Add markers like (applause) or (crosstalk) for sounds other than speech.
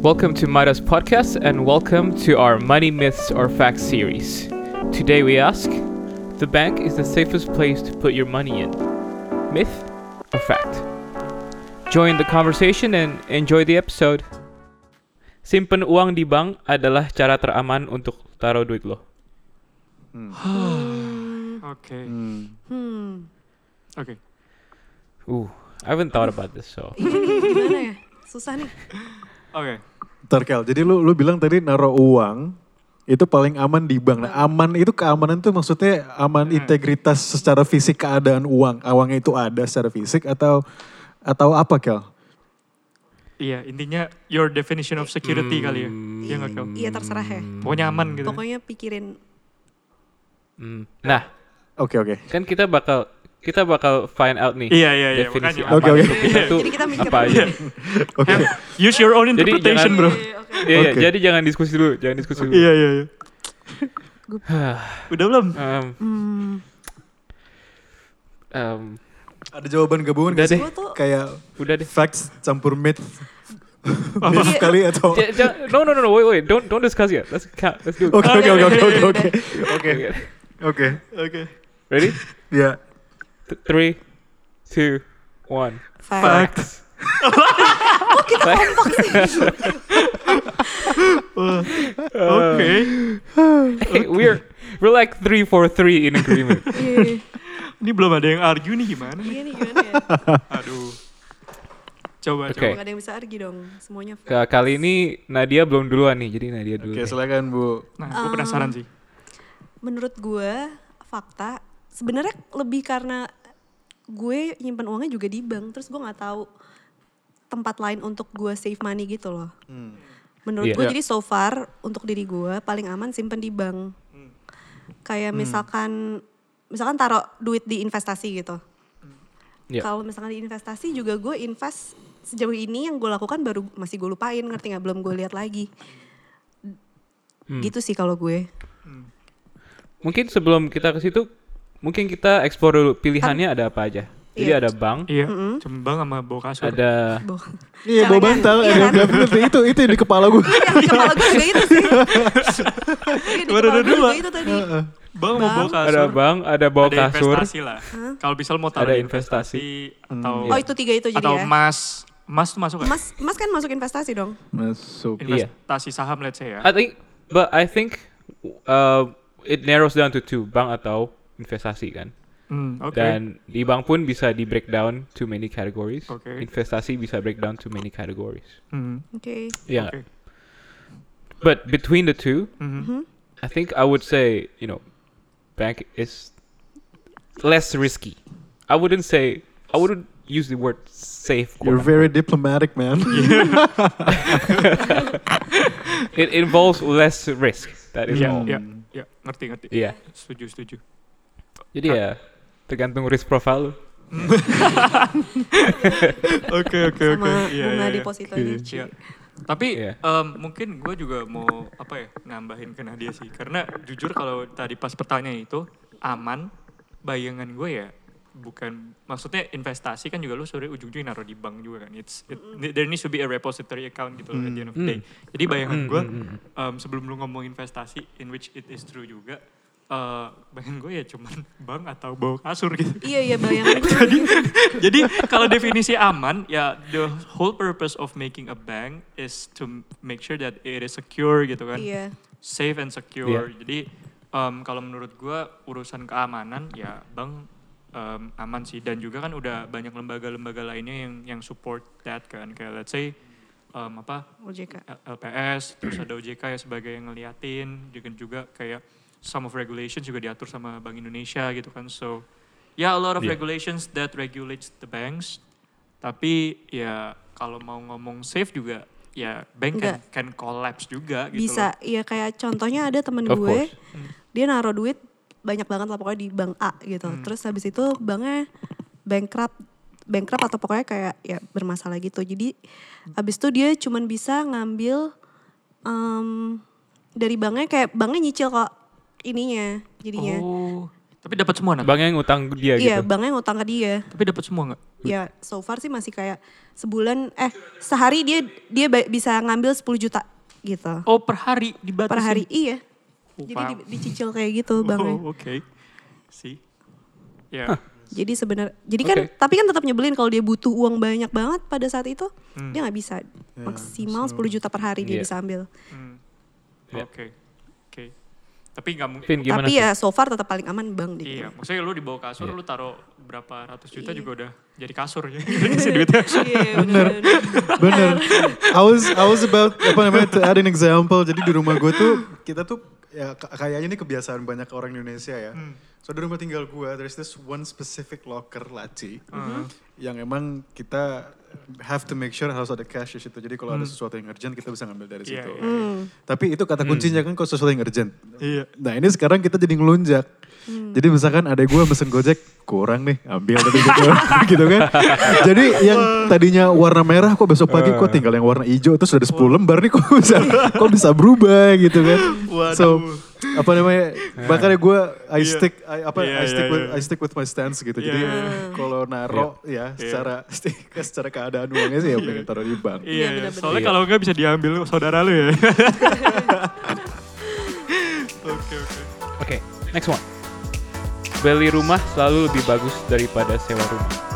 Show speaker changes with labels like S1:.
S1: Welcome to Midas Podcast and welcome to our Money Myths or Facts series. Today we ask The bank is the safest place to put your money in. Myth or fact? Join the conversation and enjoy the episode. Simpen uang di bank adalah cara teraman untuk taruh duit lo.
S2: Okay.
S3: Hmm,
S2: Okay.
S1: Ooh, I haven't thought about this so.
S3: gimana ya? Susah nih.
S2: Okay.
S4: Terkel. Jadi lu lu bilang tadi naruh uang itu paling aman di bank. Nah, aman itu keamanan tuh maksudnya aman integritas secara fisik keadaan uang. Uangnya itu ada secara fisik atau atau apa, Kel?
S2: Iya, intinya your definition of security kali ya. Iya nggak Kel?
S3: Iya terserah ya.
S2: Pokoknya aman gitu.
S3: Pokoknya pikirin
S1: Hmm. Nah,
S4: Oke, oke.
S1: kan kita bakal kita bakal find out nih.
S2: Iya, iya, iya,
S1: Definisi
S2: makanya.
S1: aman
S4: Oke, oke.
S1: untuk kita tuh
S3: Jadi kita mikir
S1: apa
S3: dulu.
S1: aja.
S4: Oke.
S2: Use your own
S1: Jadi
S2: interpretation,
S1: jangan-
S2: bro.
S1: Iya, iya,
S4: Oke.
S1: jadi jangan diskusi dulu, jangan diskusi dulu.
S2: Iya,
S1: (sighs)
S2: iya, iya. Udah belum?
S1: um,
S3: hmm,
S1: um,
S4: Ada jawaban gabungan
S1: udah
S4: gak sih?
S1: deh,
S3: gua tuh
S4: Kayak
S1: udah deh.
S4: facts campur myth. myth
S3: Iya.
S4: kali atau
S1: Ja- ja- no, no, no, no, wait, wait, don't, don't discuss yet. Let's, ca- let's do it.
S4: Oke, oke, oke, oke, oke, oke. Oke.
S1: Okay.
S4: Oke.
S2: Oke.
S1: Ready?
S4: Ya.
S1: Th- three, two, (laughs) one.
S3: fact. Kok Oh, kita kompak
S1: (laughs)
S3: sih?
S1: Ah.
S2: Oke.
S1: Hey, we're we're like three for three in (laughs) agreement.
S3: Iya,
S2: Ini belum ada yang argue nih gimana? nih?
S3: Iya nih gimana ya?
S2: Aduh. Coba,
S1: Oke.
S3: Gak ada yang bisa argi dong. Semuanya fact.
S1: Nah, Kali ini Nadia belum duluan nih, jadi Nadia dulu. deh.
S4: Oke, silakan
S2: coba.
S4: Bu.
S2: Nah, gue
S3: Um,
S2: penasaran sih.
S3: Menurut gue fakta sebenarnya lebih karena gue nyimpan uangnya juga di bank terus gue nggak tahu tempat lain untuk gue save money gitu loh.
S1: Iya.
S3: Menurut gue
S1: Iya.
S3: jadi so far untuk diri gue paling aman simpen di bank. Kayak
S1: Hmm.
S3: misalkan misalkan taruh duit di investasi gitu.
S1: Iya.
S3: Kalau misalkan di investasi juga gue invest sejauh ini yang gue lakukan baru masih gue lupain ngerti nggak belum gue lihat lagi.
S1: Hmm.
S3: Gitu sih kalau gue.
S1: Mungkin sebelum kita ke situ, mungkin kita explore dulu pilihannya ada apa aja. Jadi
S3: Iya.
S1: ada bank,
S2: Iya, cembang sama bawa kasur.
S1: ada
S3: Caranya-
S4: Iya, bawa bantal.
S3: iya kan?
S4: Ada definitely itu itu yang di kepala gue.
S2: (laughs)
S3: Iya, di kepala gue juga itu sih. Iya, di
S2: Baru ada
S3: kepala gue juga
S2: dua.
S3: itu tadi.
S2: Bang mau bawa kasur.
S1: ada bank, ada bawa
S2: ada
S1: kasur.
S2: investasi lah. Kalau bisa lo mau taruh
S1: Ada Hmm, iya.
S2: di investasi, atau
S3: Oh itu tiga itu jadi
S2: atau
S3: ya.
S2: emas. Emas tuh masuk gak?
S3: Mas, mas kan masuk investasi dong.
S4: Nah, Masuk.
S2: investasi
S1: Iya.
S2: saham let's say ya.
S1: I think, but I think uh, it narrows down to two, bank atau investasi kan.
S2: Hmm, oke.
S1: Dan di bank pun bisa di breakdown to many categories.
S2: Oke.
S1: Investasi bisa breakdown to many categories.
S2: Hmm,
S3: Oke.
S1: Yeah.
S2: oke.
S1: But between the two,
S2: Mhm.
S1: I think I would say you know, bank is less risky. I wouldn't say I wouldn't use the word safe. quote
S4: You're very diplomatic, (laughs) man.
S1: unquote. It involves less risk. That is
S2: Iya,
S1: all.
S2: iya, iya, ngerti, ngerti.
S1: Iya.
S2: Setuju, setuju. (laughs)
S1: Jadi ya tergantung risk profile lu.
S2: Oke, oke,
S3: Sama
S2: oke. Iya,
S3: bunga
S2: iya, iya.
S3: deposito ini.
S2: Iya. Tapi
S1: Iya.
S2: em, mungkin gue juga mau apa ya nambahin ke Nadia sih, karena jujur kalau tadi pas pertanyaan itu aman, bayangan gue ya bukan maksudnya investasi kan juga lo sebenarnya ujung-ujungnya naruh di bank juga kan it's it, there needs to be a repository account gitu loh at the end of the day jadi bayangan gue em, sebelum lu ngomong investasi in which it is true juga eh bayangan gue ya cuman (laughs) bank atau bawa kasur gitu
S3: Iya iya bayangan gue.
S2: (laughs) jadi jadi kalau definisi aman ya the whole purpose of making a bank is to make sure that it is secure gitu kan
S3: Iya.
S2: safe and secure jadi em, kalau menurut gua urusan keamanan ya bank em, aman sih dan juga kan udah banyak lembaga-lembaga lainnya yang yang support that kan kayak let's say em, apa
S3: OJK.
S2: L- LPS terus ada OJK ya sebagai yang ngeliatin juga juga kayak some of regulations juga diatur sama Bank Indonesia gitu kan so ya a lot of
S1: Iya.
S2: regulations that regulates the banks tapi ya kalau mau ngomong safe juga ya bank can,
S3: Nggak.
S2: can collapse juga gitu
S3: Bisa. Iya kayak contohnya ada temen
S1: Of
S3: gue.
S1: course.
S3: Dia naruh duit banyak banget lah pokoknya di bank A gitu. Terus habis itu banknya bankrupt bankrupt atau pokoknya kayak ya bermasalah gitu. Jadi habis itu dia cuman bisa ngambil mmm, em, dari banknya kayak banknya nyicil kok
S2: loh.
S3: ininya iya. jadinya.
S2: oh Tapi dapat semua nah.
S1: Bang yang ngutang dia
S3: Iya,
S1: gitu.
S3: banknya ngutang ke dia.
S2: Tapi dapat semua nggak?
S3: Ya, so far sih masih kayak sebulan eh sehari dia dia ba- bisa ngambil 10 juta gitu.
S2: Oh per hari dibatasi.
S3: Per hari iya.
S2: Oh,
S3: Jadi
S2: paham.
S3: di- dicicil kayak gitu
S2: (laughs)
S3: banknya.
S2: Oh, oke. Sih. Ya.
S3: Jadi sebenarnya jadi kan
S1: Oke.
S3: tapi kan tetap nyebelin kalau dia butuh uang banyak banget pada saat itu dia nggak bisa maksimal 10 juta per hari
S1: Iya.
S3: dia bisa ambil.
S2: Hmm.
S1: Iya.
S2: Oke. Oke. Tapi nggak mungkin.
S1: Vin gimana
S3: tapi
S1: Vin?
S3: ya so far tetap paling aman bank di
S2: Iya, maksudnya lu dibawa kasur,
S1: Iya.
S2: lu taruh berapa ratus juta
S3: gitu. Iya.
S2: juga udah jadi kasur ya. Isi duitnya.
S3: (laughs) Iya, bener.
S4: Bener. I was I was about apa namanya to add an example. Jadi di rumah gue tuh kita tuh ya k- kayaknya ini kebiasaan banyak orang Indonesia ya.
S2: Hmm.
S4: So di rumah tinggal gue, there's this one specific locker laci yang emang kita have to make sure harus ada cash di situ. Jadi kalau ada sesuatu yang urgent kita bisa ngambil dari
S2: Hmm. Iya,
S4: situ.
S2: iya, Hmm.
S4: Tapi itu kata kuncinya kan kalau sesuatu yang urgent.
S2: Iya.
S4: Nah ini sekarang kita jadi ngelunjak. Jadi misalkan ada gue mesen gojek kurang nih ambil tapi gitu, (laughs) gitu kan. Jadi yang tadinya warna merah kok besok pagi kok tinggal yang warna hijau itu sudah ada 10 lembar nih kok bisa kok bisa berubah gitu kan. So apa namanya makanya gue I stick I, apa
S2: Eh. Iya,
S4: I stick
S2: iya,
S4: with
S2: iya.
S4: I stick with my stance gitu. Jadi
S2: Iya, iya.
S4: kalau naro ya secara (laughs) secara keadaan uangnya sih ya pengen taruh di
S2: Iya,
S4: bank.
S2: iya.
S3: benar-benar.
S2: soalnya
S1: Iya.
S2: kalau nggak bisa diambil saudara lu ya. (laughs) Oke, oke.
S1: Oke, next one. Beli rumah selalu lebih bagus daripada sewa rumah.